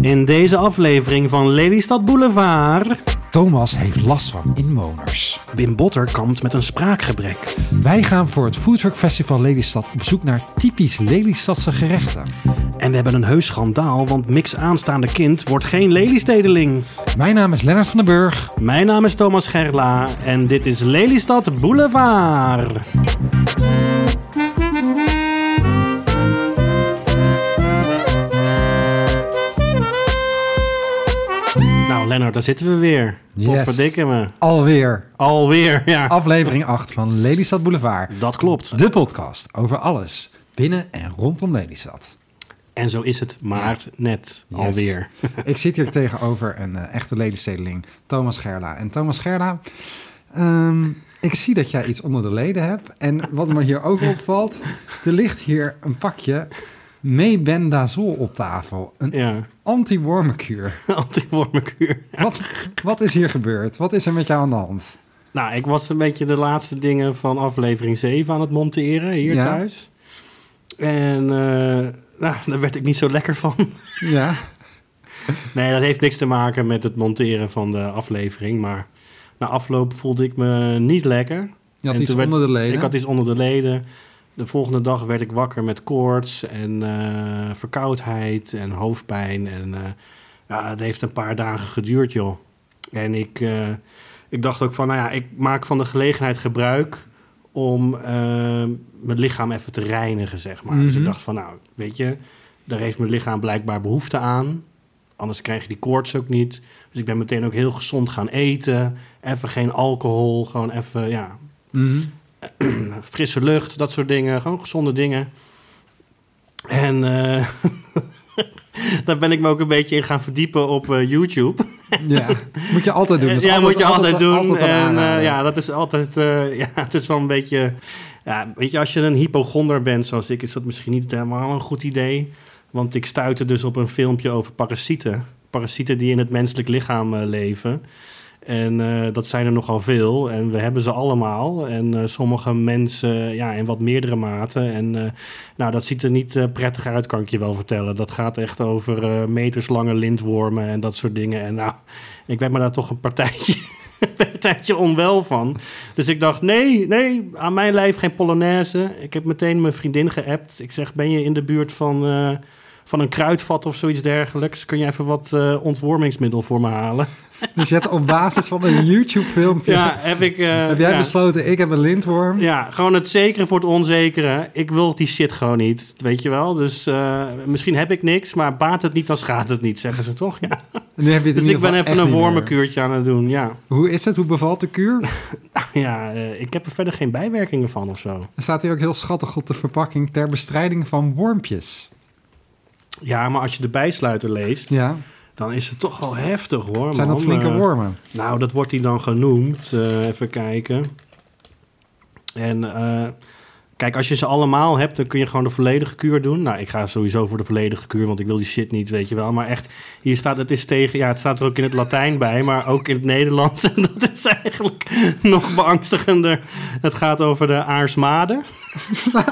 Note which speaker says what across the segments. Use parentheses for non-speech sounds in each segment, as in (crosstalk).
Speaker 1: In deze aflevering van Lelystad Boulevard.
Speaker 2: Thomas heeft last van inwoners.
Speaker 1: Wim Botter kampt met een spraakgebrek.
Speaker 2: Wij gaan voor het Foodtruck Festival Lelystad op zoek naar typisch Lelystadse gerechten.
Speaker 1: En we hebben een heus schandaal, want Mix aanstaande kind wordt geen Lelystedeling.
Speaker 2: Mijn naam is Lennart van den Burg.
Speaker 1: Mijn naam is Thomas Gerla en dit is Lelystad Boulevard. Nou, Lennart, daar zitten we weer.
Speaker 2: Yes.
Speaker 1: Potverdikke me.
Speaker 2: Alweer
Speaker 1: Alweer, ja.
Speaker 2: aflevering 8 van Lelystad Boulevard.
Speaker 1: Dat klopt.
Speaker 2: De podcast over alles binnen en rondom Lelystad.
Speaker 1: En zo is het maar net
Speaker 2: Yes. (laughs)
Speaker 1: alweer.
Speaker 2: Ik zit hier tegenover een eh, echte Lelystedeling, Thomas Gerla. En Thomas Gerla, ehm, ik zie dat jij iets onder de leden hebt. En wat me hier ook opvalt, er ligt hier een pakje mebendazol op tafel. Een
Speaker 1: Ja, (laughs)
Speaker 2: anti-wormenkuur.
Speaker 1: antiwormenkuur.
Speaker 2: Wat, wat is hier gebeurd? Wat is er met jou aan de hand?
Speaker 1: Nou, ik was een beetje de laatste dingen van aflevering 7 aan het monteren hier
Speaker 2: Ja.
Speaker 1: thuis. En eh, nou, daar werd ik niet zo lekker van. (laughs)
Speaker 2: Ja,
Speaker 1: Nee, dat heeft niks te maken met het monteren van de aflevering. Maar na afloop voelde ik me niet lekker.
Speaker 2: je had
Speaker 1: En
Speaker 2: iets
Speaker 1: toen werd-
Speaker 2: onder de leden.
Speaker 1: Ik had iets onder de leden. De volgende dag werd ik wakker met koorts en eh, verkoudheid en hoofdpijn. En eh, ja, dat heeft een paar dagen geduurd, joh. En ik, eh, ik dacht ook van, nou ja, ik maak van de gelegenheid gebruik om eh, mijn lichaam even te reinigen, zeg maar. Dus ik
Speaker 2: Mhm.
Speaker 1: dacht van, nou, weet je, daar heeft mijn lichaam blijkbaar behoefte aan. Anders krijg je die koorts ook niet. Dus ik ben meteen ook heel gezond gaan eten. Even geen alcohol, gewoon even, ja,
Speaker 2: Mhm.
Speaker 1: frisse lucht, dat soort dingen. Gewoon gezonde dingen. En eh, (laughs) daar ben ik me ook een beetje in gaan verdiepen op eh, YouTube.
Speaker 2: Ja, moet je altijd doen. Dat is
Speaker 1: Eh, ja, moet je altijd, doen.
Speaker 2: altijd een
Speaker 1: en eh,
Speaker 2: aanrader.
Speaker 1: ja, dat is altijd... eh, (laughs) ja, het is wel een beetje... Ja, weet je, als je een hypochonder bent zoals ik... is dat misschien niet helemaal een goed idee. Want ik stuitte dus op een filmpje over parasieten. Parasieten die in het menselijk lichaam eh, leven. En eh, dat zijn er nogal veel. En we hebben ze allemaal. En eh, sommige mensen eh, ja, in wat meerdere mate. En eh, nou, dat ziet er niet eh, prettig uit, kan ik je wel vertellen. Dat gaat echt over eh, meterslange lintwormen en dat soort dingen. En nou, ik werd me daar toch een partijtje, (laughs) een partijtje onwel van. Dus ik dacht, nee, nee, aan mijn lijf geen Polonaise. Ik heb meteen mijn vriendin geappt. Ik zeg, ben je in de buurt van, eh, van een kruidvat of zoiets dergelijks? Kun je even wat eh, ontwormingsmiddel voor me halen?
Speaker 2: Dus je hebt op basis van een
Speaker 1: (laughs)
Speaker 2: YouTube-filmpje...
Speaker 1: Ja, heb ik... eh,
Speaker 2: heb jij
Speaker 1: ja.
Speaker 2: besloten, ik heb een lintworm.
Speaker 1: Ja, gewoon het zekere voor het onzekere. Ik wil die shit gewoon niet, weet je wel. Dus eh, misschien heb ik niks, maar baat het niet, dan schaadt het niet, zeggen ze toch? Ja.
Speaker 2: En nu heb je het
Speaker 1: Dus
Speaker 2: in
Speaker 1: ik
Speaker 2: ieder
Speaker 1: ben
Speaker 2: geval
Speaker 1: even
Speaker 2: echt
Speaker 1: een
Speaker 2: niet meer.
Speaker 1: wormenkuurtje aan het doen, ja.
Speaker 2: Hoe is het? Hoe bevalt de kuur?
Speaker 1: Ja, eh, ik heb er verder geen bijwerkingen van of zo.
Speaker 2: Er staat hier ook heel schattig op de verpakking ter bestrijding van wormpjes.
Speaker 1: Ja, maar als je de bijsluiter leest,
Speaker 2: Ja,
Speaker 1: dan is het toch wel heftig hoor,
Speaker 2: zijn dat
Speaker 1: man.
Speaker 2: flinke
Speaker 1: Eh,
Speaker 2: wormen?
Speaker 1: Nou, dat wordt hij dan genoemd. Eh, even kijken. En eh, kijk, als je ze allemaal hebt, dan kun je gewoon de volledige kuur doen. Nou, ik ga sowieso voor de volledige kuur, want ik wil die shit niet, weet je wel. Maar echt, hier staat het is tegen. Ja, het staat er ook in het Latijn bij, maar ook in het Nederlands. (laughs) En dat is eigenlijk (laughs) nog beangstigender. Het gaat over de Aarsmade.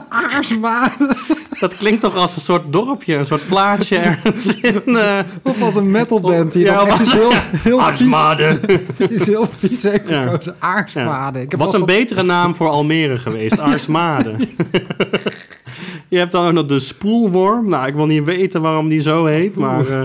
Speaker 2: Aarsmaden!
Speaker 1: Dat klinkt toch als een soort dorpje, een soort
Speaker 2: (laughs)
Speaker 1: plaatsje ergens in. eh,
Speaker 2: Of als een metalband die
Speaker 1: Ja,
Speaker 2: dan echt
Speaker 1: wat-
Speaker 2: is heel, heel vies,
Speaker 1: Aarsmade.
Speaker 2: is heel vies heeft
Speaker 1: Ja.
Speaker 2: gekozen. Aarsmaden. Ik heb
Speaker 1: Was
Speaker 2: al
Speaker 1: een
Speaker 2: zo-
Speaker 1: betere naam voor Almere
Speaker 2: (laughs)
Speaker 1: geweest, Aarsmade. je hebt dan ook nog de spoelworm. Nou, ik wil niet weten waarom die zo heet, maar eh,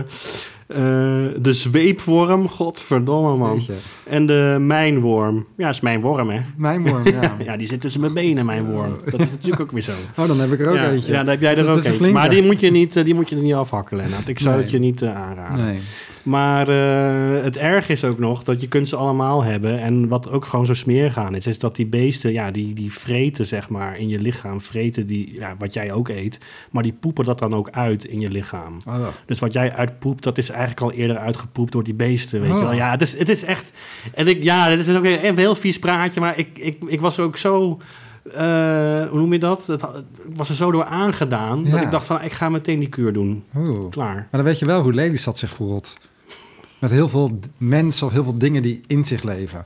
Speaker 1: eh, de zweepworm, godverdomme man.
Speaker 2: Jeetje.
Speaker 1: En de mijnworm. Ja, is mijn worm, hè?
Speaker 2: Mijn worm,
Speaker 1: (laughs)
Speaker 2: ja.
Speaker 1: Ja, die zit tussen mijn benen, mijn worm. Dat is natuurlijk ook weer zo.
Speaker 2: Oh, dan heb ik er ook
Speaker 1: Ja,
Speaker 2: eentje.
Speaker 1: ja, daar heb jij er
Speaker 2: Dat
Speaker 1: ook
Speaker 2: is een
Speaker 1: eentje.
Speaker 2: flinke.
Speaker 1: Maar die moet, je niet, eh, die moet je er niet afhakken, Lennart. Ik zou
Speaker 2: Nee.
Speaker 1: het je niet eh, aanraden.
Speaker 2: Nee.
Speaker 1: Maar eh, het erg is ook nog dat je kunt ze allemaal hebben. En wat ook gewoon zo smerig aan is, is dat die beesten, ja, die, die vreten zeg maar in je lichaam. Vreten die, ja, wat jij ook eet. Maar die poepen dat dan ook uit in je lichaam.
Speaker 2: Oh, wel.
Speaker 1: Dus wat jij uitpoept, dat is eigenlijk al eerder uitgepoept door die beesten, weet
Speaker 2: Oh.
Speaker 1: je wel. Ja, het is, het is echt... En ik, ja, dit is ook een, een heel vies praatje, maar ik, ik, ik was er ook zo... eh, hoe noem je dat? Het, ik was er zo door aangedaan, dat
Speaker 2: Ja.
Speaker 1: ik dacht van, ik ga meteen die kuur doen.
Speaker 2: Oeh.
Speaker 1: Klaar.
Speaker 2: oh. Maar dan weet je wel hoe Lelystad zich voelt. Met heel veel d- mensen of heel veel dingen die in zich leven.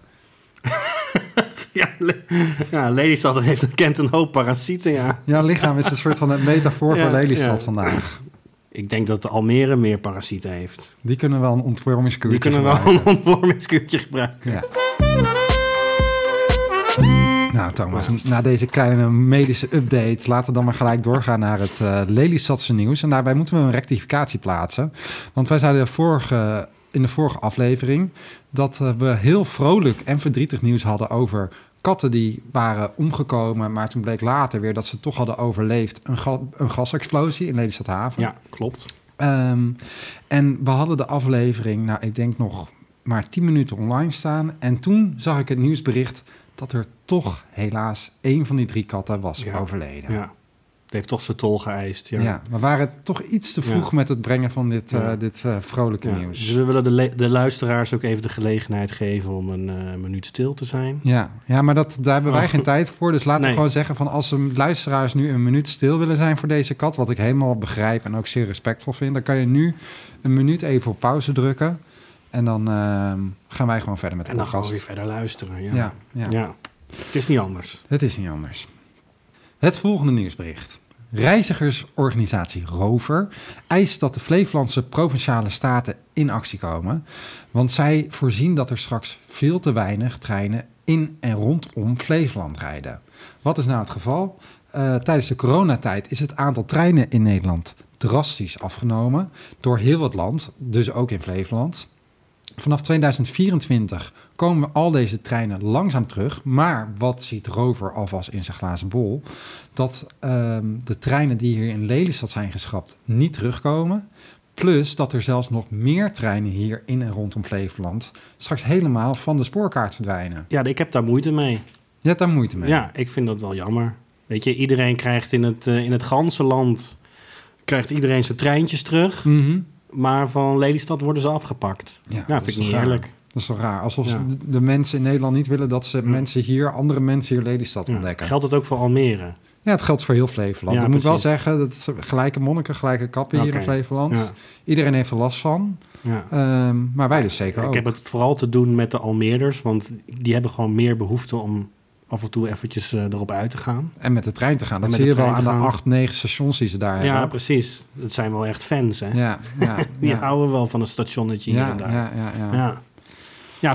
Speaker 1: Ja, le- ja Lelystad heeft, kent een hoop parasieten, ja.
Speaker 2: Jouw lichaam is een soort van een
Speaker 1: (laughs)
Speaker 2: metafoor
Speaker 1: Ja,
Speaker 2: voor Lelystad
Speaker 1: ja.
Speaker 2: vandaag.
Speaker 1: Ik denk dat de Almere meer parasieten heeft.
Speaker 2: Die kunnen wel een
Speaker 1: Die
Speaker 2: ontwormingskuurtje
Speaker 1: kunnen wel
Speaker 2: gebruiken.
Speaker 1: (laughs) een ontwormingskuurtje gebruiken.
Speaker 2: Ja. Nou Thomas, na deze kleine medische update laten we dan maar gelijk doorgaan naar het eh Lelystadse nieuws. En daarbij moeten we een rectificatie plaatsen. Want wij zeiden de vorige, in de vorige aflevering dat eh, we heel vrolijk en verdrietig nieuws hadden over katten die waren omgekomen. Maar toen bleek later weer dat ze toch hadden overleefd een, ga- een gasexplosie in Lelystadhaven.
Speaker 1: Ja, klopt.
Speaker 2: Ehm, en we hadden de aflevering, nou, ik denk nog maar 10 minuten online staan. En toen zag ik het nieuwsbericht dat er toch helaas één van die drie katten was
Speaker 1: Ja.
Speaker 2: overleden.
Speaker 1: Ja. Het heeft toch zijn tol geëist. Ja.
Speaker 2: Ja. we waren toch iets te vroeg met het brengen van dit, eh,
Speaker 1: Ja.
Speaker 2: dit eh, vrolijke
Speaker 1: Ja.
Speaker 2: nieuws.
Speaker 1: Dus we willen de, le- de luisteraars ook even de gelegenheid geven om een eh, minuut stil te zijn.
Speaker 2: Ja, ja maar dat, daar hebben wij
Speaker 1: Oh.
Speaker 2: geen tijd voor. Dus laten we
Speaker 1: Nee.
Speaker 2: gewoon zeggen van als de luisteraars nu een minuut stil willen zijn voor deze kat, wat ik helemaal begrijp en ook zeer respectvol vind, dan kan je nu een minuut even op pauze drukken. En dan ehm, gaan wij gewoon verder met de
Speaker 1: En dan gaan we
Speaker 2: podcast.
Speaker 1: weer verder luisteren. Ja.
Speaker 2: Ja, ja.
Speaker 1: Ja. Het is niet anders.
Speaker 2: het is niet anders. Het volgende nieuwsbericht. Reizigersorganisatie Rover eist dat de Flevolandse provinciale staten in actie komen. Want zij voorzien dat er straks veel te weinig treinen in en rondom Flevoland rijden. Wat is nou het geval? Eh, tijdens de coronatijd is het aantal treinen in Nederland drastisch afgenomen. Door heel het land, dus ook in Flevoland. Vanaf 2024 komen al deze treinen langzaam terug. Maar wat ziet Rover alvast in zijn glazen bol? Dat ehm, de treinen die hier in Lelystad zijn geschrapt niet terugkomen. Plus dat er zelfs nog meer treinen hier in en rondom Flevoland straks helemaal van de spoorkaart verdwijnen.
Speaker 1: Ja, ik heb daar moeite mee.
Speaker 2: Je hebt daar moeite mee.
Speaker 1: Ja, ik vind dat wel jammer. Weet je, iedereen krijgt in het, eh, in het ganse land... krijgt iedereen zijn treintjes terug.
Speaker 2: Mhm.
Speaker 1: Maar van Lelystad worden ze afgepakt.
Speaker 2: Ja,
Speaker 1: nou,
Speaker 2: dat
Speaker 1: vind
Speaker 2: is
Speaker 1: ik niet
Speaker 2: raar.
Speaker 1: eerlijk.
Speaker 2: Dat is toch raar? Alsof
Speaker 1: Ja.
Speaker 2: de- de mensen in Nederland niet willen dat ze
Speaker 1: Ja.
Speaker 2: mensen hier, andere mensen hier Lelystad
Speaker 1: Ja.
Speaker 2: ontdekken.
Speaker 1: Geldt het ook voor Almere?
Speaker 2: Ja, het geldt voor heel Flevoland.
Speaker 1: Ja,
Speaker 2: ik moet wel
Speaker 1: precies.
Speaker 2: zeggen, dat het gelijke monniken, gelijke kappen hier in
Speaker 1: Oké.
Speaker 2: Flevoland.
Speaker 1: Ja.
Speaker 2: Iedereen heeft er last van,
Speaker 1: Ja.
Speaker 2: ehm, maar wij dus zeker ook.
Speaker 1: Ik heb het vooral te doen met de Almeerders, want die hebben gewoon meer behoefte om af en toe eventjes eh, erop uit te gaan.
Speaker 2: En met de trein te gaan. Dat
Speaker 1: En met
Speaker 2: zie
Speaker 1: de
Speaker 2: je wel
Speaker 1: trein
Speaker 2: aan
Speaker 1: te
Speaker 2: de
Speaker 1: gaan.
Speaker 2: acht, negen stations die ze daar
Speaker 1: Ja,
Speaker 2: hebben.
Speaker 1: precies. Dat zijn wel echt fans, hè?
Speaker 2: Ja, ja, ja.
Speaker 1: (laughs) Die houden wel van een stationnetje hier
Speaker 2: ja,
Speaker 1: en daar. Ja,
Speaker 2: ja, ja, ja.
Speaker 1: ja.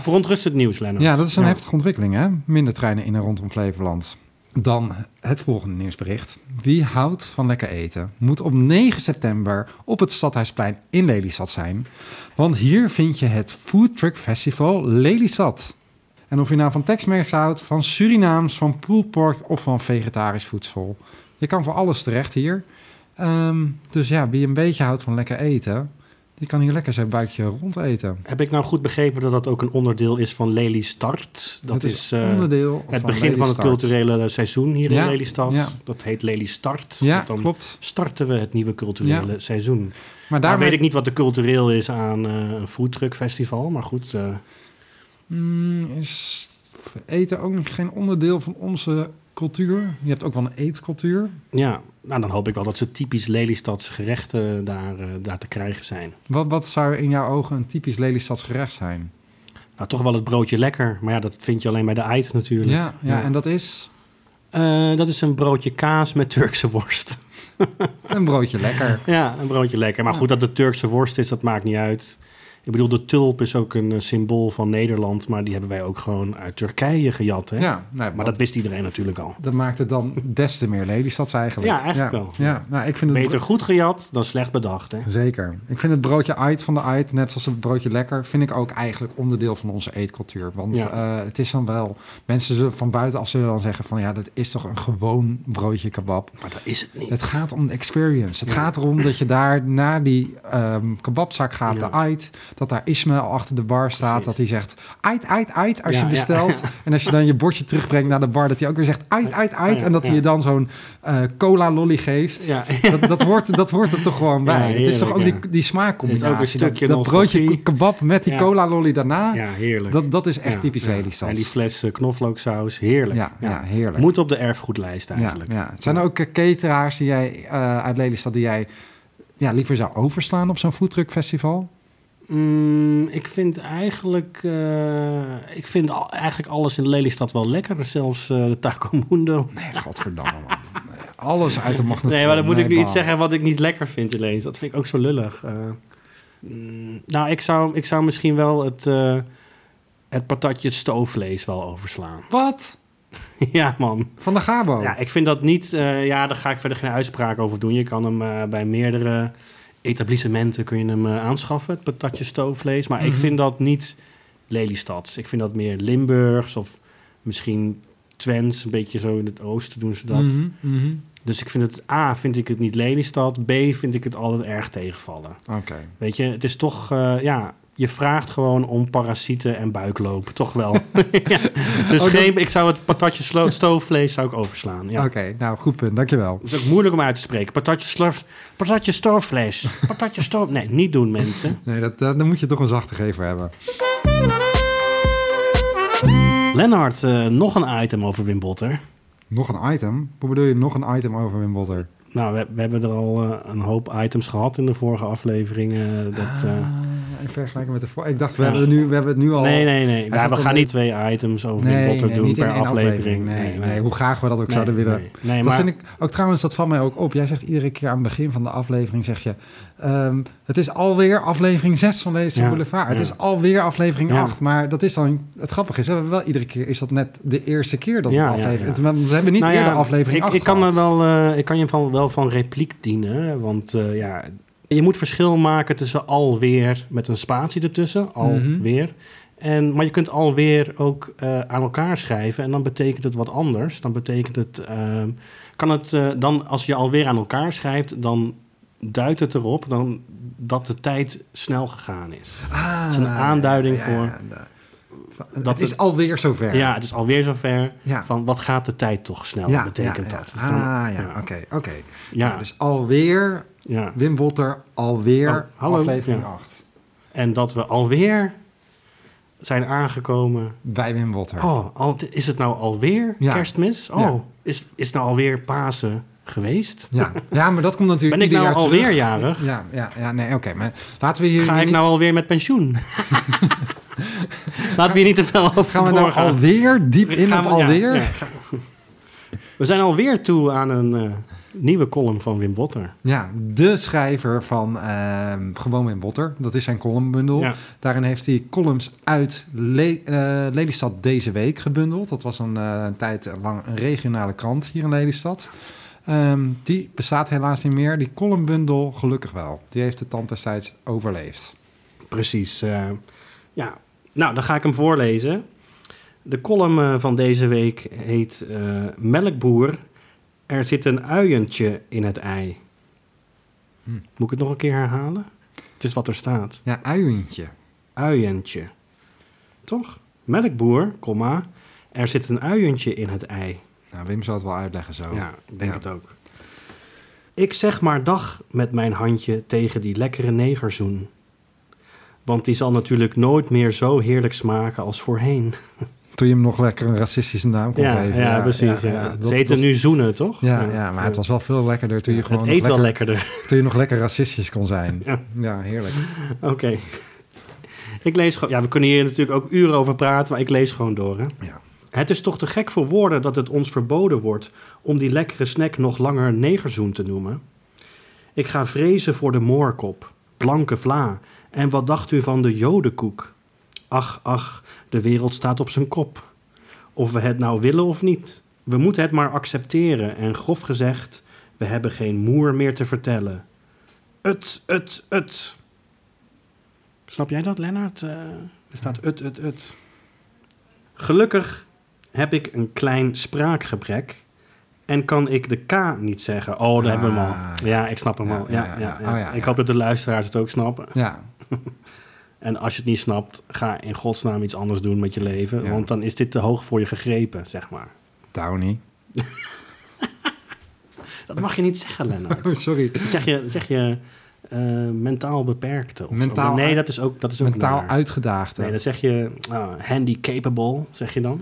Speaker 1: verontrustend nieuws, Lennart.
Speaker 2: Ja, dat is een
Speaker 1: Ja.
Speaker 2: heftige ontwikkeling, hè? Minder treinen in en rondom Flevoland. Dan het volgende nieuwsbericht. Wie houdt van lekker eten, moet op 9 september op het Stadhuisplein in Lelystad zijn. Want hier vind je het Food Truck Festival Lelystad. En of je nou van Tex-Mex houdt, van Surinaams, van poolpork of van vegetarisch voedsel. Je kan voor alles terecht hier. Ehm, dus ja, wie een beetje houdt van lekker eten, die kan hier lekker zijn buikje rond eten.
Speaker 1: Heb ik nou goed begrepen dat dat ook een onderdeel is van Lelystart? Dat is, eh,
Speaker 2: onderdeel
Speaker 1: het begin van het
Speaker 2: Lelystad.
Speaker 1: culturele seizoen hier
Speaker 2: Ja,
Speaker 1: in Lelystad.
Speaker 2: ja.
Speaker 1: Dat heet Lelystart.
Speaker 2: Ja,
Speaker 1: Want dan
Speaker 2: klopt.
Speaker 1: starten we het nieuwe culturele seizoen.
Speaker 2: Maar
Speaker 1: Daar
Speaker 2: daar
Speaker 1: Nou, weet ik niet wat de cultureel is aan eh, een foodtruck festival, maar goed. eh,
Speaker 2: Mm, is eten ook geen onderdeel van onze cultuur? Je hebt ook wel een eetcultuur.
Speaker 1: Ja, nou dan hoop ik wel dat ze typisch Lelystadse gerechten daar, eh, daar te krijgen zijn.
Speaker 2: Wat, wat zou in jouw ogen een typisch Lelystads gerecht zijn?
Speaker 1: Nou, toch wel het broodje lekker, maar ja, dat vind je alleen bij de eit
Speaker 2: Ja,
Speaker 1: natuurlijk.
Speaker 2: ja,
Speaker 1: Ja.
Speaker 2: en dat is
Speaker 1: Eh, dat is een broodje kaas met Turkse worst. (laughs)
Speaker 2: een broodje lekker.
Speaker 1: ja, een broodje lekker. Maar
Speaker 2: Ja.
Speaker 1: goed, dat het Turkse worst is, dat maakt niet uit. Ik bedoel, de tulp is ook een eh, symbool van Nederland, maar die hebben wij ook gewoon uit Turkije gejat. Hè?
Speaker 2: Ja, nou,
Speaker 1: Maar dat wist iedereen natuurlijk al.
Speaker 2: dat maakt het dan des te meer Lelystads eigenlijk.
Speaker 1: Ja, eigenlijk wel.
Speaker 2: Ja, nou, ik vind het
Speaker 1: Beter goed gejat dan slecht bedacht. Hè?
Speaker 2: Zeker. Ik vind het broodje uit van de uit, net zoals het broodje lekker, vind ik ook eigenlijk onderdeel van onze eetcultuur. Want
Speaker 1: Ja.
Speaker 2: eh, het is dan wel, mensen zullen van buitenaf zullen dan zeggen van ja, dat is toch een gewoon broodje kebab.
Speaker 1: Maar dat is het niet.
Speaker 2: Het gaat om de experience. Het gaat erom dat je daar na die ehm, kebabzak gaat,
Speaker 1: Ja.
Speaker 2: de ait, dat daar Ismaël achter de bar staat,
Speaker 1: Precies.
Speaker 2: dat hij zegt ait, ait, ait als
Speaker 1: Ja,
Speaker 2: je
Speaker 1: ja. (laughs)
Speaker 2: bestelt. En als je dan je bordje terugbrengt naar de bar, dat hij ook weer zegt ait, ait, ait.
Speaker 1: Ja,
Speaker 2: En dat hij
Speaker 1: ja.
Speaker 2: je dan zo'n eh, cola lolly geeft. (laughs)
Speaker 1: Ja,
Speaker 2: Dat, dat, hoort, dat hoort er toch gewoon bij.
Speaker 1: Ja,
Speaker 2: het is toch ook
Speaker 1: heerlijk,
Speaker 2: die, die smaakcombinatie.
Speaker 1: Het is ook een
Speaker 2: Dat-
Speaker 1: stukje
Speaker 2: dat,
Speaker 1: nostalgie.
Speaker 2: broodje kebab met die
Speaker 1: Ja.
Speaker 2: cola lolly daarna.
Speaker 1: ja heerlijk.
Speaker 2: Dat, dat is echt
Speaker 1: Ja,
Speaker 2: typisch
Speaker 1: ja.
Speaker 2: Lelystad.
Speaker 1: En die fles eh, knoflooksaus, heerlijk.
Speaker 2: ja, ja, heerlijk.
Speaker 1: Moet op de erfgoedlijst
Speaker 2: ja,
Speaker 1: eigenlijk.
Speaker 2: ja. Het zijn er ook eh, cateraars die jij, eh, uit Lelystad die jij ja, liever zou overslaan op zo'n foodtruckfestival.
Speaker 1: Mm, ik vind eigenlijk, eh, ik vind al- eigenlijk alles in Lelystad wel lekker. Zelfs eh, de Taco Mundo.
Speaker 2: Nee, godverdamme man. Nee.
Speaker 1: (laughs)
Speaker 2: alles uit de magnetron.
Speaker 1: Nee, maar dan moet ik nu
Speaker 2: bal.
Speaker 1: iets zeggen wat ik niet lekker vind ineens. Dat vind ik ook zo lullig. Eh, mm, nou, ik zou, ik zou misschien wel het, eh, het patatje het stoofvlees wel overslaan. (laughs)
Speaker 2: Wat?
Speaker 1: ja, man.
Speaker 2: Van de Gabo?
Speaker 1: Ja, ik vind dat niet... eh, ja, daar ga ik verder geen uitspraak over doen. Je kan hem eh, bij meerdere etablissementen kun je hem, eh, aanschaffen. Het patatje stoofvlees. Maar ik
Speaker 2: Mhm.
Speaker 1: vind dat niet Lelystads. Ik vind dat meer Limburgs of misschien Twents. Een beetje zo in het oosten doen ze dat.
Speaker 2: Mhm, mhm.
Speaker 1: Dus ik vind het A, vind ik het niet Lelystad. B, vind ik het altijd erg tegenvallen.
Speaker 2: Oké.
Speaker 1: Weet je, het is toch, eh, ja, je vraagt gewoon om parasieten en buikloop. Toch wel. (laughs)
Speaker 2: (laughs)
Speaker 1: ja. Dus
Speaker 2: Oh, dat-
Speaker 1: geen, ik zou het patatje slo- stoofvlees zou ik overslaan. Ja.
Speaker 2: Oké, nou goed punt, dankjewel.
Speaker 1: Het is ook moeilijk om uit te spreken. Patatje, slurf, patatje
Speaker 2: (laughs)
Speaker 1: stoofvlees. Patatje stoof... Nee, niet doen mensen.
Speaker 2: Nee, dat, dat, daar moet je toch een zachte gever hebben.
Speaker 1: Lennart, eh, nog een item over Wim Botter.
Speaker 2: Nog een item? Hoe bedoel je nog een item over Wim Botter?
Speaker 1: Nou, we, we hebben er al eh, een hoop items gehad in de vorige aflevering. eh, dat, eh,
Speaker 2: Ah, in vergelijking met de vorige. Ik dacht, we,
Speaker 1: Ja.
Speaker 2: hebben, nu, we hebben het nu al...
Speaker 1: Nee, nee, nee.
Speaker 2: Ah. zat
Speaker 1: Ja, we
Speaker 2: al
Speaker 1: gaan
Speaker 2: mee-
Speaker 1: niet twee items over Wim Botter doen
Speaker 2: niet in
Speaker 1: per
Speaker 2: één
Speaker 1: aflevering.
Speaker 2: Nee, nee, hoe graag we dat ook
Speaker 1: Nee,
Speaker 2: zouden willen.
Speaker 1: Nee, nee,
Speaker 2: dat
Speaker 1: maar
Speaker 2: vind ik ook trouwens, dat valt mij ook op. Jij zegt iedere keer aan het begin van de aflevering, zeg je... ehm, het is alweer aflevering 6 van deze
Speaker 1: Ja,
Speaker 2: boulevard. Het
Speaker 1: ja.
Speaker 2: is alweer aflevering
Speaker 1: Ja.
Speaker 2: 8. Maar dat is dan... Het grappige is, we hebben wel iedere keer... Is dat net de eerste keer dat
Speaker 1: Ja,
Speaker 2: we
Speaker 1: ja,
Speaker 2: aflevering...
Speaker 1: ja.
Speaker 2: We hebben niet
Speaker 1: Nou ja,
Speaker 2: eerder aflevering
Speaker 1: ik,
Speaker 2: 8
Speaker 1: ik kan
Speaker 2: gehad.
Speaker 1: er wel, eh, Ik kan je van, wel van repliek dienen, hè, want eh, ja, je moet verschil maken tussen alweer met een spatie
Speaker 2: Mhm.
Speaker 1: ertussen, alweer. En, maar je kunt alweer ook eh, aan elkaar schrijven en dan betekent het wat anders. Dan betekent het, eh, kan het eh, dan als je alweer aan elkaar schrijft, dan duidt het erop dan, dat de tijd snel gegaan is.
Speaker 2: Ah,
Speaker 1: is een aanduiding voor-
Speaker 2: voor...
Speaker 1: dat
Speaker 2: het is
Speaker 1: het-
Speaker 2: alweer zover.
Speaker 1: Ja, het is alweer zover.
Speaker 2: ja.
Speaker 1: Van wat gaat de tijd toch snel?
Speaker 2: Ja,
Speaker 1: betekent
Speaker 2: ja,
Speaker 1: dat?
Speaker 2: Ja.
Speaker 1: Dus dan-
Speaker 2: ah, ja,
Speaker 1: ja.
Speaker 2: oké, oké.
Speaker 1: ja,
Speaker 2: Nou, dus alweer
Speaker 1: ja.
Speaker 2: Wim Botter, alweer
Speaker 1: Oh, hallo,
Speaker 2: aflevering
Speaker 1: ja.
Speaker 2: 8
Speaker 1: En dat we alweer zijn aangekomen.
Speaker 2: bij Wim Botter.
Speaker 1: Oh, al, is het nou alweer
Speaker 2: Ja.
Speaker 1: kerstmis? Oh,
Speaker 2: Ja.
Speaker 1: is, is het nou alweer Pasen geweest?
Speaker 2: Ja. ja, maar dat komt natuurlijk
Speaker 1: Ben ik
Speaker 2: ieder
Speaker 1: nou
Speaker 2: jaar
Speaker 1: alweer
Speaker 2: terug.
Speaker 1: jarig?
Speaker 2: Ja, ja, ja, nee, oké. maar laten we hier
Speaker 1: Ga
Speaker 2: nu
Speaker 1: ik
Speaker 2: niet...
Speaker 1: nou alweer met
Speaker 2: (laughs)
Speaker 1: pensioen? Laten we hier niet te veel over
Speaker 2: Gaan we nou
Speaker 1: doorgaan.
Speaker 2: alweer diep in
Speaker 1: Gaan
Speaker 2: of
Speaker 1: we- ja,
Speaker 2: alweer?
Speaker 1: ja,
Speaker 2: Ja,
Speaker 1: ga- (laughs) we zijn alweer toe aan een eh, nieuwe column van Wim Botter.
Speaker 2: de schrijver van ehm, Gewoon Wim Botter. Dat is zijn columnbundel.
Speaker 1: Ja.
Speaker 2: Daarin heeft hij columns uit Le- eh, Lelystad deze week gebundeld. Dat was een, eh, een tijd lang een regionale krant hier in Lelystad. Ehm, die bestaat helaas niet meer. Die columnbundel gelukkig wel. Die heeft de tand destijds overleefd.
Speaker 1: Precies. eh, ja, nou, dan ga ik hem voorlezen. De column eh, van deze week heet eh, Melkboer. Er zit een uientje in het ei.
Speaker 2: Hm.
Speaker 1: Moet ik het nog een keer herhalen? Het is wat er staat.
Speaker 2: Ja, uientje.
Speaker 1: Uientje. Toch? Melkboer, komma. Er zit een uientje in het ei.
Speaker 2: Nou, Wim zal het wel uitleggen zo.
Speaker 1: Ja, ik denk
Speaker 2: Ja.
Speaker 1: het ook. Ik zeg maar dag met mijn handje tegen die lekkere negerzoen. Want die zal natuurlijk nooit meer zo heerlijk smaken als voorheen.
Speaker 2: Toen je hem nog lekker een racistische naam kon
Speaker 1: Ja, ja,
Speaker 2: geven.
Speaker 1: precies. Ja,
Speaker 2: Dat-
Speaker 1: Ze eten
Speaker 2: dat-
Speaker 1: nu zoenen, toch?
Speaker 2: Ja, ja, maar het was wel veel lekkerder toen je gewoon
Speaker 1: het
Speaker 2: nog
Speaker 1: eet wel
Speaker 2: lekker,
Speaker 1: lekkerder. (laughs)
Speaker 2: toen je nog lekker racistisch kon zijn.
Speaker 1: Ja.
Speaker 2: Ja, heerlijk.
Speaker 1: Oké. Ik lees gewoon... Ja, we kunnen hier natuurlijk ook uren over praten, maar ik lees gewoon door, hè.
Speaker 2: Ja.
Speaker 1: Het is toch te gek voor woorden dat het ons verboden wordt om die lekkere snack nog langer negerzoen te noemen. Ik ga vrezen voor de moorkop, blanke vla en wat dacht u van de jodenkoek? Ach, ach, de wereld staat op zijn kop. Of we het nou willen of niet. We moeten het maar accepteren en grof gezegd, we hebben geen moer meer te vertellen. Ut, ut, ut. Snap jij dat, Lennart? Eh, er staat ut, ut, ut. Gelukkig heb ik een klein spraakgebrek en kan ik de K niet zeggen. Oh, daar
Speaker 2: Ah,
Speaker 1: hebben we hem al. Ja, ik snap hem
Speaker 2: Ja,
Speaker 1: al. Ja, ja,
Speaker 2: ja,
Speaker 1: ja,
Speaker 2: ja. Oh, ja,
Speaker 1: Ik
Speaker 2: ja.
Speaker 1: hoop dat de luisteraars het ook snappen.
Speaker 2: Ja,
Speaker 1: En als je het niet snapt, ga in godsnaam iets anders doen met je leven.
Speaker 2: Ja.
Speaker 1: Want dan is dit te hoog voor je gegrepen, zeg maar.
Speaker 2: Downey.
Speaker 1: Dat mag je niet zeggen,
Speaker 2: (laughs) Oh,
Speaker 1: Lennart.
Speaker 2: sorry.
Speaker 1: Dat zeg je, zeg je eh, mentaal beperkte. Of
Speaker 2: Mentaal
Speaker 1: nee,
Speaker 2: uit-
Speaker 1: dat is ook, dat is ook
Speaker 2: Mentaal
Speaker 1: naar.
Speaker 2: uitgedaagd.
Speaker 1: Nee, dan zeg je ah, handicapable, zeg je dan.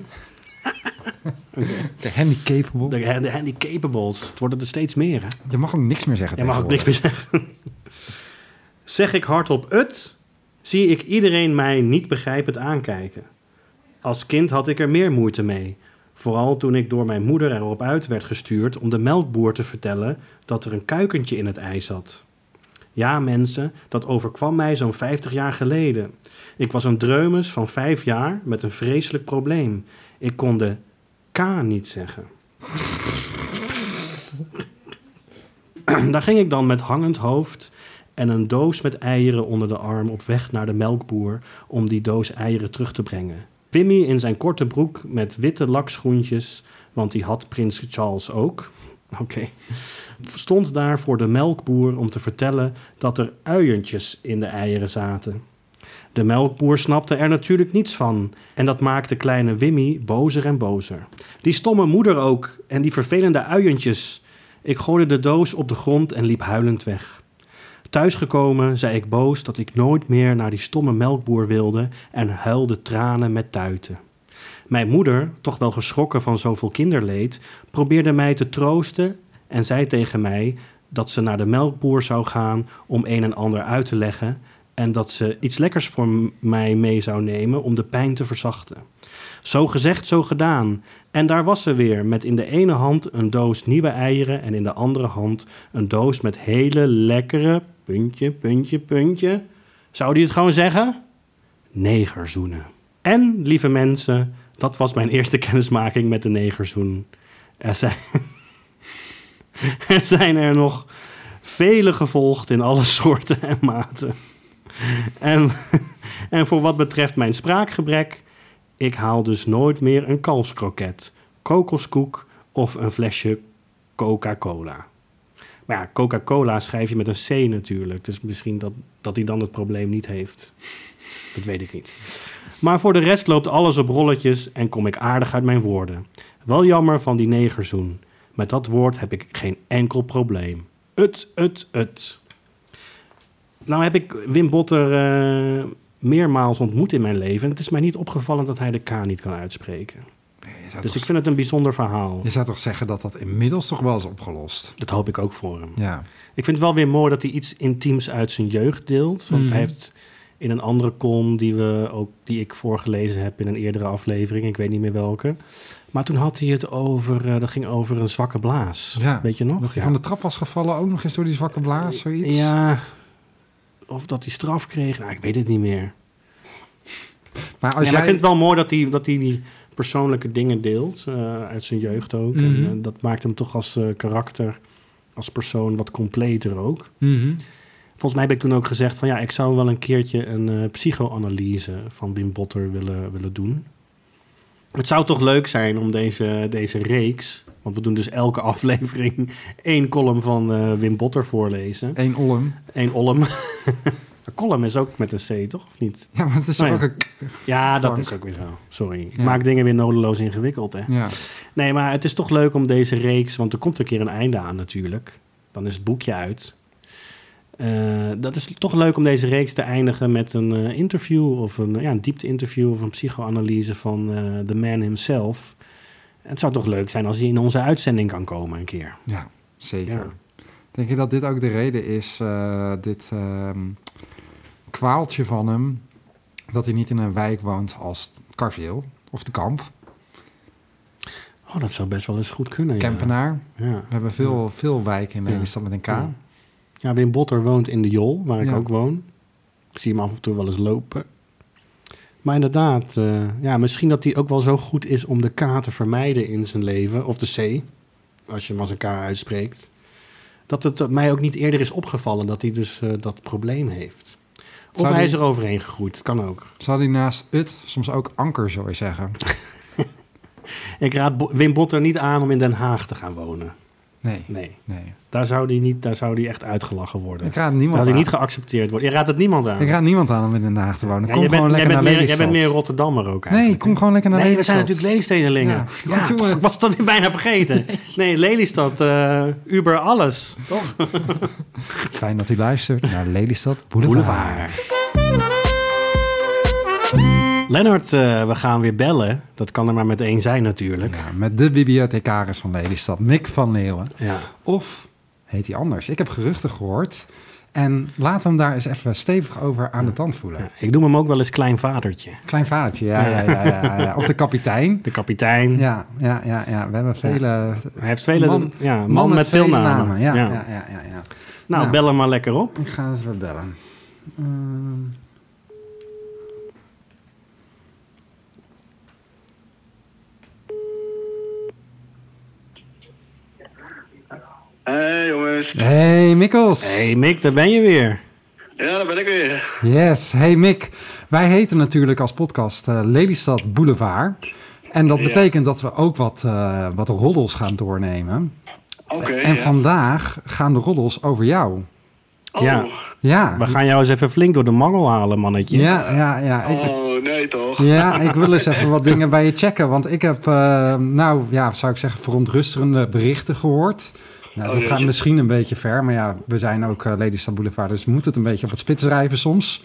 Speaker 2: De handicapable.
Speaker 1: De, de handicapables. Het worden er dus steeds meer, hè?
Speaker 2: Je mag ook niks meer zeggen.
Speaker 1: Jij mag ook niks
Speaker 2: tegenwoordig.
Speaker 1: meer zeggen. (laughs) zeg ik hardop het, zie ik iedereen mij niet begrijpend aankijken. Als kind had ik er meer moeite mee. Vooral toen ik door mijn moeder erop uit werd gestuurd om de melkboer te vertellen dat er een kuikentje in het ei zat. Ja, mensen, dat overkwam mij zo'n 50 jaar geleden. Ik was een dreumes van vijf jaar met een vreselijk probleem. Ik kon de K niet zeggen. (clears throat) Daar ging ik dan met hangend hoofd en een doos met eieren onder de arm op weg naar de melkboer om die doos eieren terug te brengen. Pimmy in zijn korte broek met witte lakschoentjes, want die had prins Charles ook. (laughs) Oké. Stond daar voor de melkboer om te vertellen dat er uientjes in de eieren zaten. De melkboer snapte er natuurlijk niets van. En dat maakte kleine Wimmy bozer en bozer. Die stomme moeder ook en die vervelende uientjes. Ik gooide de doos op de grond en liep huilend weg. Thuisgekomen zei ik boos dat ik nooit meer naar die stomme melkboer wilde en huilde tranen met tuiten. Mijn moeder, toch wel geschrokken van zoveel kinderleed, probeerde mij te troosten en zei tegen mij dat ze naar de melkboer zou gaan om een en ander uit te leggen en dat ze iets lekkers voor m- mij mee zou nemen om de pijn te verzachten. Zo gezegd, zo gedaan. En daar was ze weer, met in de ene hand een doos nieuwe eieren en in de andere hand een doos met hele lekkere puntje, puntje, puntje. Zou die het gewoon zeggen? Negerzoenen. En, lieve mensen, dat was mijn eerste (laughs) kennismaking met de negerzoen. Er zijn (laughs) er, zijn er nog vele gevolgd in alle (laughs) soorten en maten. En, en voor wat betreft mijn spraakgebrek, ik haal dus nooit meer een kalfskroket, kokoskoek of een flesje Coca-Cola. Maar ja, Coca-Cola schrijf je met een C natuurlijk, dus misschien dat, dat hij dan het probleem niet heeft. Dat weet ik niet. Maar voor de rest loopt alles op rolletjes en kom ik aardig uit mijn woorden. Wel jammer van die negerzoen. Met dat woord heb ik geen enkel probleem. Ut, ut, ut. Nou heb ik Wim Botter eh, meermaals ontmoet in mijn leven. En het is mij niet opgevallen dat hij de K niet kan uitspreken.
Speaker 2: Nee, je, zou
Speaker 1: Dus
Speaker 2: toch,
Speaker 1: ik vind het een bijzonder verhaal.
Speaker 2: je zou toch zeggen dat dat inmiddels toch wel is opgelost?
Speaker 1: Dat hoop ik ook voor hem.
Speaker 2: Ja.
Speaker 1: Ik vind het wel weer mooi dat hij iets intiems uit zijn jeugd deelt. Want
Speaker 2: Mhm.
Speaker 1: hij heeft in een andere column die, we ook, die ik voorgelezen heb in een eerdere aflevering. Ik weet niet meer welke. Maar toen had hij het over, eh, dat ging over een zwakke blaas.
Speaker 2: Ja,
Speaker 1: weet je nog?
Speaker 2: Dat hij
Speaker 1: Ja.
Speaker 2: van de trap was gevallen, ook nog eens door die zwakke blaas, zoiets.
Speaker 1: Ja, of dat hij straf kreeg. Nou, ik weet het niet meer.
Speaker 2: Maar als
Speaker 1: Nee, maar
Speaker 2: jij...
Speaker 1: ik vind het wel mooi dat hij, dat hij die persoonlijke dingen deelt. eh, uit zijn jeugd ook. En,
Speaker 2: Mhm.
Speaker 1: eh, dat maakt hem toch als eh, karakter, als persoon wat completer ook.
Speaker 2: Mhm.
Speaker 1: Volgens mij heb ik toen ook gezegd van ja, ik zou wel een keertje een eh, psychoanalyse van Wim Botter willen, willen doen. Het zou toch leuk zijn om deze, deze reeks, want we doen dus elke (laughs) aflevering één column van eh, Wim Botter voorlezen.
Speaker 2: Eén olm.
Speaker 1: Eén column. (laughs) een column is ook met een C, toch? Of niet?
Speaker 2: Ja, maar het is
Speaker 1: Nou
Speaker 2: toch
Speaker 1: ja.
Speaker 2: ook een... k-
Speaker 1: Ja, dat
Speaker 2: Plank.
Speaker 1: is ook weer zo. Sorry. Ik
Speaker 2: Ja.
Speaker 1: maak dingen weer nodeloos ingewikkeld, hè?
Speaker 2: Ja.
Speaker 1: Nee, maar het is toch leuk om deze reeks, want er komt een keer een einde aan natuurlijk. Dan is het boekje uit. Eh, dat is toch leuk om deze reeks te eindigen met een eh, interview of een, ja, een diepte-interview of een psychoanalyse van eh the man himself. Het zou toch leuk zijn als hij in onze uitzending kan komen een keer.
Speaker 2: ja, zeker.
Speaker 1: Ja.
Speaker 2: Denk je dat dit ook de reden is, eh, dit ehm, kwaaltje van hem, dat hij niet in een wijk woont als Carveel of de Kamp,
Speaker 1: Oh, dat zou best wel eens goed kunnen. ja.
Speaker 2: Kempenaar?
Speaker 1: Ja.
Speaker 2: We hebben veel, veel wijken in
Speaker 1: Ja.
Speaker 2: Nederland met een K.
Speaker 1: Ja. ja, Wim Botter woont in de Jol, waar ik
Speaker 2: Ja.
Speaker 1: ook woon. Ik zie hem af en toe wel eens lopen. Maar inderdaad, eh, ja, misschien dat hij ook wel zo goed is om de K te vermijden in zijn leven. Of de C, als je hem als een K uitspreekt. Dat het mij ook niet eerder is opgevallen dat hij dus eh, dat probleem heeft. Of
Speaker 2: Zou
Speaker 1: hij is
Speaker 2: die-
Speaker 1: er overheen gegroeid, dat kan ook.
Speaker 2: Zou hij naast het soms ook anker, zou je zeggen?
Speaker 1: Ik raad Bo- Wim Botter niet aan om in Den Haag te gaan wonen.
Speaker 2: Nee,
Speaker 1: Nee,
Speaker 2: nee.
Speaker 1: daar zou hij, niet, daar zou die echt uitgelachen worden.
Speaker 2: Ik raad
Speaker 1: Daar
Speaker 2: niemand
Speaker 1: zou
Speaker 2: aan.
Speaker 1: hij niet geaccepteerd worden. Je raadt het niemand aan.
Speaker 2: Ik raad niemand aan om in Den Haag te wonen.
Speaker 1: Ja,
Speaker 2: kom
Speaker 1: jij bent,
Speaker 2: gewoon
Speaker 1: jij
Speaker 2: lekker
Speaker 1: bent
Speaker 2: naar
Speaker 1: meer, jij
Speaker 2: Lelystad.
Speaker 1: bent meer Rotterdammer ook
Speaker 2: Nee,
Speaker 1: eigenlijk.
Speaker 2: kom gewoon lekker naar
Speaker 1: Nee, we
Speaker 2: Lelystad.
Speaker 1: zijn
Speaker 2: (laughs)
Speaker 1: natuurlijk Lelestedelingen.
Speaker 2: Ja.
Speaker 1: Ja,
Speaker 2: God, jongen.
Speaker 1: toch, (laughs) was het dat weer bijna
Speaker 2: (laughs)
Speaker 1: vergeten. Nee, Lelystad, eh Uber alles.
Speaker 2: Fijn dat u luistert naar Lelystad Boulevard.
Speaker 1: Lennart, eh, we gaan weer bellen. Dat kan er maar met één zijn natuurlijk.
Speaker 2: Ja, met de bibliothecaris van Lelystad, Mick van Leeuwen.
Speaker 1: Ja.
Speaker 2: Of heet hij anders? Ik heb geruchten gehoord. En laat hem daar eens even stevig over aan de tand voelen.
Speaker 1: Ja, ik noem hem ook wel eens klein vadertje.
Speaker 2: Klein vadertje, ja, ja, ja, ja, ja. Of de (laughs) kapitein.
Speaker 1: De kapitein.
Speaker 2: Ja, ja, ja, ja. We hebben vele...
Speaker 1: Hij heeft vele...
Speaker 2: Man-
Speaker 1: ja, man,
Speaker 2: mannen
Speaker 1: met veel
Speaker 2: vele
Speaker 1: namen.
Speaker 2: Ja,
Speaker 1: Ja.
Speaker 2: ja, ja, ja. ja,
Speaker 1: Nou,
Speaker 2: Nou.
Speaker 1: bel hem maar lekker op.
Speaker 2: Ik ga eens weer bellen. Ehm.
Speaker 3: Hey jongens.
Speaker 2: Hey Mikkels.
Speaker 1: Hé hey Mick, daar ben je weer.
Speaker 3: Ja, daar ben ik weer.
Speaker 2: Yes, hey Mick. Wij heten natuurlijk als podcast eh, Lelystad Boulevard. En dat
Speaker 3: Ja.
Speaker 2: betekent dat we ook wat, eh, wat roddels gaan doornemen.
Speaker 3: Oké.
Speaker 2: en
Speaker 3: ja.
Speaker 2: vandaag gaan de roddels over jou.
Speaker 3: Oh.
Speaker 1: Ja.
Speaker 2: Ja.
Speaker 1: We gaan jou eens even flink door de mangel halen, mannetje.
Speaker 2: Ja, ja, ja. Ik,
Speaker 3: Oh, nee toch?
Speaker 2: ja, ik wil eens even wat dingen bij je checken. Want ik heb, eh, nou ja, zou ik zeggen, verontrustende berichten gehoord. Nou,
Speaker 3: Oh,
Speaker 2: dat
Speaker 3: jeetje.
Speaker 2: gaat misschien een beetje ver, maar ja, we zijn ook eh Lelystad Boulevard, dus we moeten het een beetje op het spits drijven soms.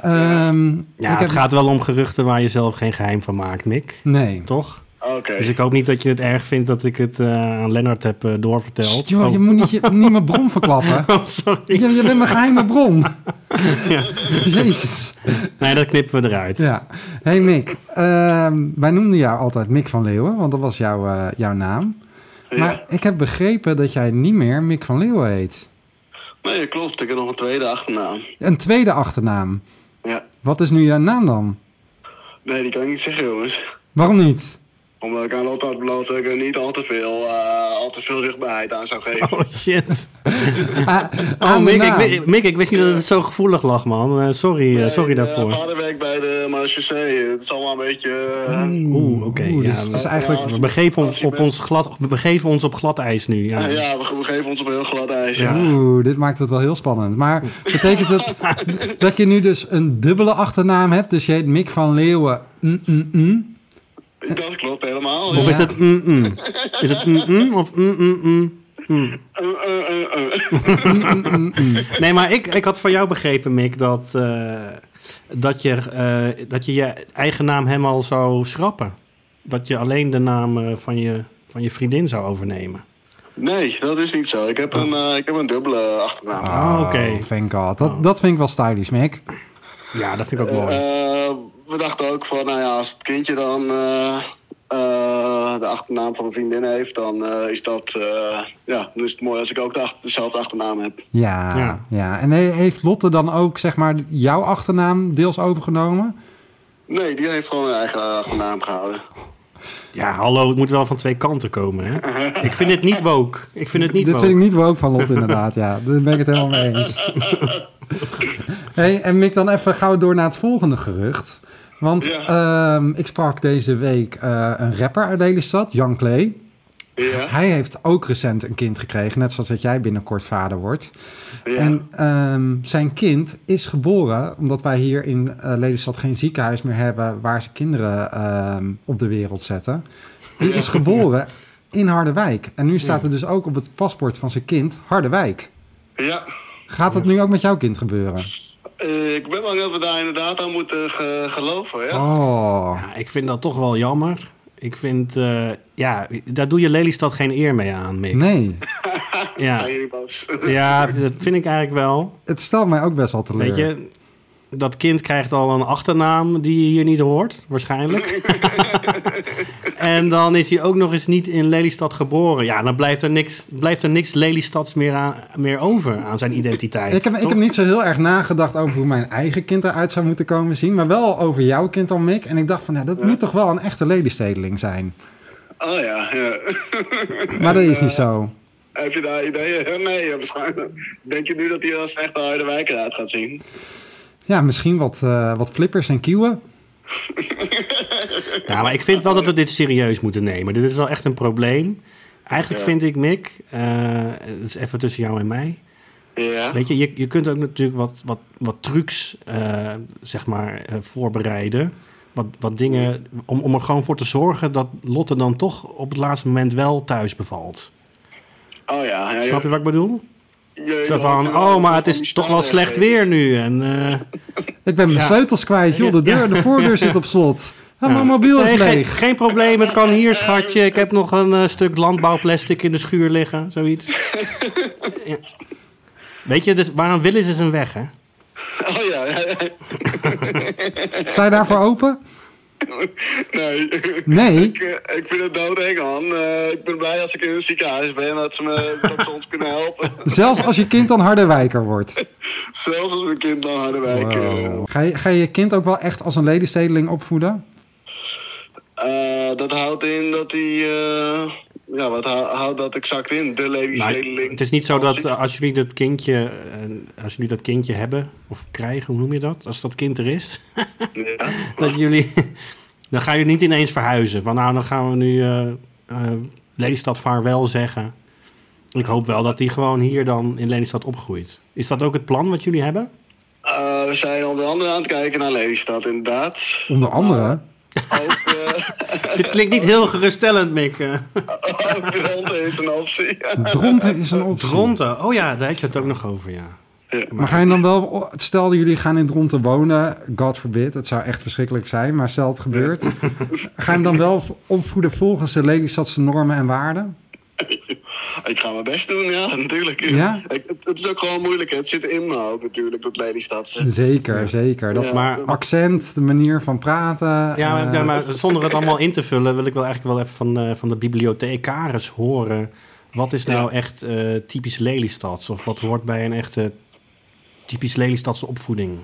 Speaker 2: Ehm,
Speaker 1: Ja,
Speaker 2: ik
Speaker 1: het
Speaker 2: heb-
Speaker 1: gaat wel om geruchten waar je zelf geen geheim van maakt, Mick.
Speaker 2: Nee.
Speaker 1: Toch?
Speaker 3: Oké.
Speaker 1: Dus ik hoop niet dat je het erg vindt dat ik het eh, aan Lennart heb eh, doorverteld.
Speaker 2: Sst, joh,
Speaker 1: Oh.
Speaker 2: je moet niet, je, niet mijn bron verklappen.
Speaker 1: (laughs) Oh, sorry.
Speaker 2: Je, je bent mijn geheime
Speaker 1: (laughs)
Speaker 2: bron. Jezus.
Speaker 1: Nee, dat knippen we eruit.
Speaker 2: Ja. Hey Mick, ehm, wij noemden jou altijd Mick van Leeuwen, want dat was jouw, eh, jouw naam.
Speaker 3: Ja.
Speaker 2: Maar ik heb begrepen dat jij niet meer Mick van Leeuwen heet.
Speaker 3: Nee, klopt. Ik heb nog een tweede achternaam.
Speaker 2: Een tweede achternaam.
Speaker 3: Ja.
Speaker 2: Wat is nu jouw naam dan?
Speaker 3: Nee, die kan ik niet zeggen jongens.
Speaker 2: Waarom
Speaker 1: (laughs)
Speaker 2: niet?
Speaker 3: Omdat ik aan Lotte had beloofd dat ik er niet al te veel, eh, al te veel zichtbaarheid aan zou geven.
Speaker 1: Oh shit.
Speaker 2: Ah,
Speaker 1: Oh,
Speaker 2: aan de
Speaker 1: Mick ik,
Speaker 2: naam.
Speaker 1: wi- Mick, ik wist niet dat het zo gevoelig lag, man. Eh, sorry, eh,
Speaker 3: Nee,
Speaker 1: sorry
Speaker 3: mijn, eh,
Speaker 1: daarvoor.
Speaker 3: vader werkt bij de marechaussee. Het is allemaal een beetje... eh,
Speaker 1: Oeh, oké,
Speaker 2: Oeh,
Speaker 1: ja,
Speaker 2: dus het is
Speaker 3: maar-
Speaker 2: eigenlijk...
Speaker 1: We begeven ons
Speaker 3: Als je
Speaker 1: op,
Speaker 3: bent-
Speaker 1: ons glad, we begeven ons op glad ijs nu. Ja.
Speaker 3: nou ja, we, we geven ons op heel glad ijs. Ja.
Speaker 2: Oeh, dit maakt het wel heel spannend. Maar betekent dat
Speaker 1: (laughs)
Speaker 2: dat je nu dus een dubbele achternaam hebt? Dus je heet Mick van Leeuwen. Mm, mm, mm.
Speaker 3: Dat klopt helemaal.
Speaker 1: Of
Speaker 3: Ja.
Speaker 1: is het mm-mm? Is het mm-mm of mm-mm-mm? Mm.
Speaker 3: Eh, eh, eh, eh.
Speaker 1: Nee, maar ik, ik had van jou begrepen, Mick, dat, eh, dat, je, eh, dat je je eigen naam helemaal zou schrappen. Dat je alleen de naam eh, van, je, van je vriendin zou overnemen.
Speaker 3: Nee, dat is niet zo. Ik heb een, eh, ik heb een dubbele achternaam.
Speaker 1: Oh. Ah, oké.
Speaker 2: Oh,
Speaker 1: Oh.
Speaker 2: Thank God. Dat, dat vind ik wel stylish, Mick.
Speaker 1: Ja, dat vind ik ook mooi.
Speaker 3: Eh, we dachten ook van, nou ja, als het kindje dan eh, eh, de achternaam van een vriendin heeft, dan eh, is dat, eh, ja, dan is het mooi als ik ook de achter- dezelfde achternaam heb.
Speaker 2: Ja,
Speaker 1: Ja.
Speaker 2: ja. En he- heeft Lotte dan ook, zeg maar, jouw achternaam deels overgenomen?
Speaker 3: Nee, die heeft gewoon een eigen achternaam gehouden.
Speaker 1: Ja, hallo, het moet wel van twee kanten komen,
Speaker 3: (laughs)
Speaker 1: hè? Ik vind het niet woke. Ik vind het niet
Speaker 2: Dit
Speaker 1: woke.
Speaker 2: vind ik niet woke van Lotte, inderdaad. Ja, daar ben ik het helemaal mee
Speaker 3: (laughs)
Speaker 2: eens. hey, en Mick, dan even gauw door naar het volgende gerucht. Want
Speaker 3: Ja.
Speaker 2: ehm, ik sprak deze week eh, een rapper uit Lelystad, Jan Clay.
Speaker 3: Ja,
Speaker 2: Hij heeft ook recent een kind gekregen, net zoals dat jij binnenkort vader wordt.
Speaker 3: ja.
Speaker 2: En ehm, zijn kind is geboren, omdat wij hier in eh, Lelystad geen ziekenhuis meer hebben waar ze kinderen ehm, op de wereld zetten. Die is geboren in Harderwijk. En nu staat er dus ook op het paspoort van zijn kind Harderwijk.
Speaker 3: ja.
Speaker 2: Gaat dat nu ook met jouw kind gebeuren?
Speaker 3: Eh, ik ben bang dat we daar inderdaad aan moeten ge- geloven, ja.
Speaker 2: Oh,
Speaker 1: Ja, ik vind dat toch wel jammer. Ik vind, eh, ja, daar doe je Lelystad geen eer mee aan, Mick.
Speaker 2: nee.
Speaker 1: Ja,
Speaker 3: Zijn jullie boos? (laughs)
Speaker 1: ja, dat vind ik eigenlijk wel.
Speaker 2: Het stelt mij ook best wel teleur.
Speaker 1: Weet je, dat kind krijgt al een achternaam die je hier niet hoort, waarschijnlijk. en dan is hij ook nog eens niet in Lelystad geboren. Ja, dan blijft er niks, blijft er niks Lelystads meer, aan, meer over aan zijn identiteit.
Speaker 2: Ik heb, ik
Speaker 1: toch?
Speaker 2: heb niet zo heel erg nagedacht over hoe mijn eigen kind eruit zou moeten komen zien. Maar wel over jouw kind dan, Mick. En ik dacht van, ja, dat moet toch wel een echte Lelystedeling zijn.
Speaker 3: Oh ja, ja. (laughs)
Speaker 2: Maar dat
Speaker 3: Eh,
Speaker 2: is niet zo.
Speaker 3: Heb je daar ideeën? (laughs) Nee, ja, waarschijnlijk. Denk je nu dat hij als een echte harde wijk eruit gaat zien?
Speaker 2: Ja, misschien wat, eh, wat flippers en kieuwen.
Speaker 1: Ja, maar ik vind wel dat we dit serieus moeten nemen. Dit is wel echt een probleem. Eigenlijk
Speaker 3: Ja.
Speaker 1: vind ik, Mick, eh, het is even tussen jou en mij.
Speaker 3: Ja.
Speaker 1: Weet je, je, je kunt ook natuurlijk wat, wat, wat trucs, eh, zeg maar, eh, voorbereiden. Wat, wat dingen, om, om er gewoon voor te zorgen dat Lotte dan toch op het laatste moment wel thuis bevalt.
Speaker 3: Oh ja, ja.
Speaker 1: Snap je wat ik bedoel?
Speaker 3: Je-
Speaker 1: Zo
Speaker 3: je-
Speaker 1: van,
Speaker 3: je-
Speaker 1: oh, maar het
Speaker 3: van
Speaker 1: is
Speaker 3: die
Speaker 1: toch wel
Speaker 3: standaard
Speaker 1: slecht weer
Speaker 3: regels.
Speaker 1: nu. En, eh,
Speaker 2: Ik ben mijn
Speaker 1: Ja.
Speaker 2: sleutels kwijt, joh. De, deur, de voordeur zit op slot. En mijn mobiel is
Speaker 1: nee, geen,
Speaker 2: leeg.
Speaker 1: geen probleem, het kan hier, schatje. Ik heb
Speaker 3: (laughs)
Speaker 1: nog een eh, stuk landbouwplastic in de schuur liggen, zoiets. Weet je, dus waarom Willis is een weg, hè?
Speaker 3: (laughs) Oh ja,
Speaker 2: Zijn daarvoor open?
Speaker 3: nee.
Speaker 2: Nee.
Speaker 3: (laughs) Ik, eh, ik vind het doodeng, man. Eh, ik ben blij als ik in een ziekenhuis ben dat ze, me, dat ze ons kunnen helpen. (laughs)
Speaker 2: Zelfs als je kind dan harderwijker wordt.
Speaker 3: Zelfs als mijn kind naar Harderwijk. eh,
Speaker 2: Ga, je, ga je je kind ook wel echt als een ledenstedeling opvoeden?
Speaker 3: eh, dat houdt in dat hij. eh, ja, wat hou- houdt dat exact in? De lady
Speaker 1: Nou,
Speaker 3: Zedeling.
Speaker 1: het is niet zo dat
Speaker 3: Klassiek.
Speaker 1: eh, als jullie dat kindje, eh, als jullie dat kindje hebben of krijgen, hoe noem je dat? Als dat kind er is, (laughs)
Speaker 3: Ja.
Speaker 1: dat jullie, (laughs) dan gaan jullie niet ineens verhuizen. Van nou, dan gaan we nu eh eh, Lelystad vaarwel zeggen. Ik hoop wel dat die gewoon hier dan in Lelystad opgroeit. Is dat ook het plan wat jullie hebben?
Speaker 3: Eh, we zijn onder andere aan het kijken naar Lelystad, inderdaad.
Speaker 2: Onder andere.
Speaker 3: Ook, eh (laughs)
Speaker 1: Dit klinkt niet heel geruststellend, (laughs) Mick. Eh,
Speaker 3: ook Dronten is een optie.
Speaker 2: Dronten is een optie.
Speaker 1: Dronten, oh ja, daar had je het ook nog over, ja.
Speaker 2: Maar ga je dan wel... Stel dat jullie gaan in Dronten wonen. God forbid. Het zou echt verschrikkelijk zijn. Maar stel het gebeurt. Ga je hem dan wel opvoeden volgens de Lelystadse normen en waarden?
Speaker 3: ik ga mijn best doen, ja, (laughs) natuurlijk.
Speaker 2: Ja?
Speaker 3: Ik, het, het is ook gewoon moeilijk, hè. het zit in me ook natuurlijk, dat Lelystadse.
Speaker 2: Zeker, zeker. Dat
Speaker 3: Ja.
Speaker 1: Maar,
Speaker 2: accent, de manier van praten.
Speaker 1: Ja, maar,
Speaker 2: eh,
Speaker 1: ja, maar zonder het allemaal in te vullen, wil ik wel eigenlijk wel even van, eh, van de bibliothecaris horen. Wat is nou echt eh, typisch Lelystads? Of wat hoort bij een echte typisch Lelystadse opvoeding?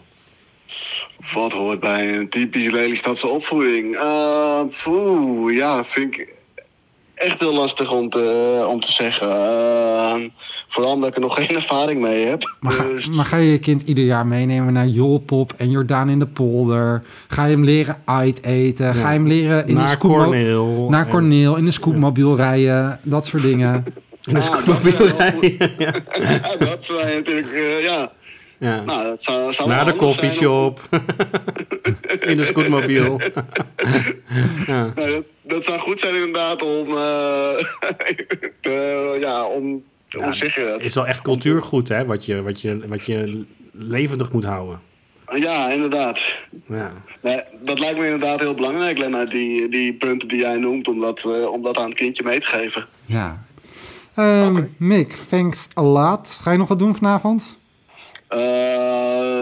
Speaker 3: Wat hoort bij een typische Lelystadse opvoeding? Eh poeh, ja, vind ik echt heel lastig om te, om te zeggen. Eh, vooral omdat ik er nog geen (laughs) ervaring mee heb.
Speaker 2: Maar ga,
Speaker 3: Dus-
Speaker 2: maar ga je je kind ieder jaar meenemen naar Jolpop en Jordaan in de polder? Ga je hem leren uit eten? Ga je hem leren in de
Speaker 1: naar
Speaker 2: scootmo-
Speaker 1: Corneel.
Speaker 2: naar
Speaker 1: en-
Speaker 2: Corneel, in de scootmobiel rijden? Dat soort
Speaker 3: (laughs)
Speaker 2: dingen.
Speaker 1: en de
Speaker 3: Ah,
Speaker 1: scootmobiel
Speaker 3: dat zijn wel-
Speaker 1: rijden, (laughs) ja.
Speaker 3: Ja, (laughs) dat zou je natuurlijk, eh, ja.
Speaker 1: Ja.
Speaker 3: Nou, dat zou, zou wel
Speaker 1: Naar de
Speaker 3: handig zijn om-
Speaker 1: koffieshop. (laughs) in de
Speaker 3: (laughs)
Speaker 1: scootmobiel. ja.
Speaker 3: Nou, dat, dat zou goed zijn inderdaad om, eh, (laughs) te- ja, om,
Speaker 1: Ja,
Speaker 3: hoe zeg je dat?
Speaker 1: Het is wel echt cultuurgoed, hè? Wat je, wat je, wat je levendig moet houden.
Speaker 3: Ja, inderdaad.
Speaker 1: Ja.
Speaker 3: Nee, dat lijkt me inderdaad heel belangrijk, Lennart, die, die punten die jij noemt, om dat, eh, om dat aan het kindje mee te geven.
Speaker 2: Ja. Ehm, Mick, thanks a lot. Ga je nog wat doen vanavond?
Speaker 3: Eh,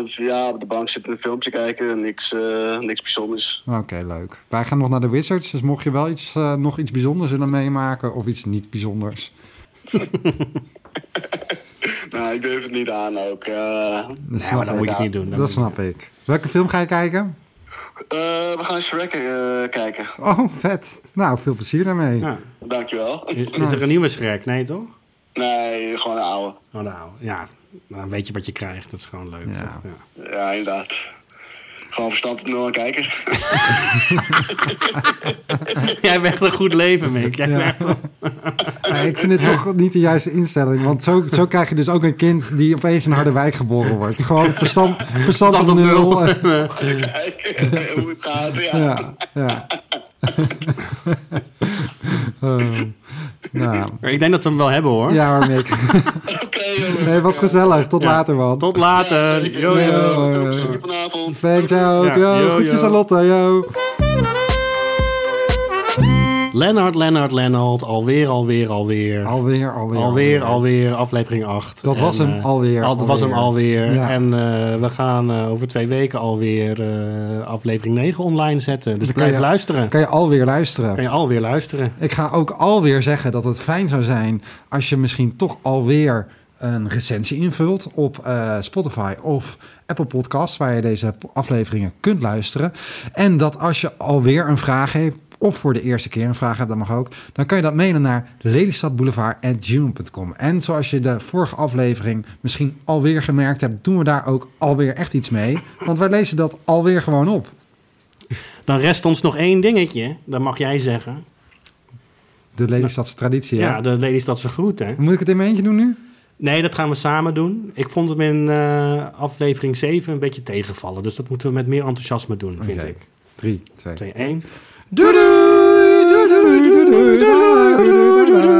Speaker 3: ja, op de bank zitten een filmpje kijken, niks, eh, niks bijzonders.
Speaker 2: Oké, leuk. Wij gaan nog naar de Wizards, dus mocht je wel iets, eh, nog iets bijzonders willen meemaken of iets niet bijzonders.
Speaker 3: Nou, ik durf het niet aan ook. eh.
Speaker 2: Dat
Speaker 1: Nee,
Speaker 2: snap
Speaker 1: maar dat
Speaker 2: ik.
Speaker 1: moet je niet doen.
Speaker 2: Dat snap ik. Welke film ga je kijken?
Speaker 3: Eh, we gaan Shrek eh, kijken,
Speaker 2: Oh, vet. Nou, veel plezier daarmee.
Speaker 1: Ja.
Speaker 3: dankjewel.
Speaker 1: Is, is er een nieuwe Shrek? Nee, toch?
Speaker 3: Nee, gewoon een oude.
Speaker 1: Oh, nou, ja. Dan weet je wat je krijgt. Dat is gewoon leuk.
Speaker 2: Ja.
Speaker 1: toch? Ja. (laughs)
Speaker 3: Ja, inderdaad. Gewoon verstand op nul en kijken.
Speaker 1: Jij hebt echt een goed leven, Mick. Jij
Speaker 2: Ja.
Speaker 1: hebt echt-
Speaker 2: Maar ik vind het toch niet de juiste instelling. Want zo, zo krijg je dus ook een kind die opeens in Harderwijk geboren wordt. Gewoon verstand, verstand op nul.
Speaker 3: kijken hoe het gaat. Ja.
Speaker 2: (laughs) Ja, ja. (laughs) Eh, nou,
Speaker 1: Maar Ik denk dat we hem wel hebben, hoor.
Speaker 2: ja hoor, Mick.
Speaker 3: Oké, jongens.
Speaker 2: Nee, was gezellig. Tot
Speaker 1: Ja.
Speaker 2: later, man.
Speaker 1: Tot later. Yo, yo.
Speaker 2: yo.
Speaker 3: Veel plezier vanavond.
Speaker 2: Thanks, yo.
Speaker 1: Ja.
Speaker 2: yo.
Speaker 1: Yo,
Speaker 2: Goed
Speaker 1: yo.
Speaker 2: gedaan, Lotte, yo.
Speaker 1: Lennart, Lennart, Lennart. Alweer, alweer, alweer.
Speaker 2: Alweer, alweer.
Speaker 1: Alweer, alweer, aflevering 8.
Speaker 2: Dat was hem
Speaker 1: eh,
Speaker 2: alweer,
Speaker 1: al- dat was hem alweer.
Speaker 2: Ja.
Speaker 1: En eh, we gaan eh, over twee weken alweer eh, aflevering 9 online zetten. Dus
Speaker 2: Dan kan
Speaker 1: blijf
Speaker 2: je-
Speaker 1: luisteren.
Speaker 2: Kan je alweer luisteren.
Speaker 1: Kan je alweer luisteren.
Speaker 2: Ik ga ook alweer zeggen dat het fijn zou zijn als je misschien toch alweer een recensie invult op eh, Spotify of Apple Podcasts, waar je deze afleveringen kunt luisteren. En dat als je alweer een vraag heeft, of voor de eerste keer een vraag hebt, dat mag ook, dan kan je dat mailen naar lelystadboulevard.gmail.com. En zoals je de vorige aflevering misschien alweer gemerkt hebt, doen we daar ook alweer echt iets mee. Want wij lezen dat alweer gewoon op.
Speaker 1: Dan rest ons nog één dingetje. Dat mag jij zeggen.
Speaker 2: De Lelystadse traditie,
Speaker 1: Ja,
Speaker 2: hè?
Speaker 1: de Lelystadse groet, hè?
Speaker 2: Moet ik het in mijn eentje doen nu?
Speaker 1: Nee, dat gaan we samen doen. Ik vond hem in eh, aflevering 7 een beetje tegenvallen. Dus dat moeten we met meer enthousiasme doen, vind
Speaker 2: Oké.
Speaker 1: ik.
Speaker 2: 3, 2,
Speaker 1: 2, 1.
Speaker 2: Doei doei, doei doei, doei doei, doei doei, doei doei, doei doei.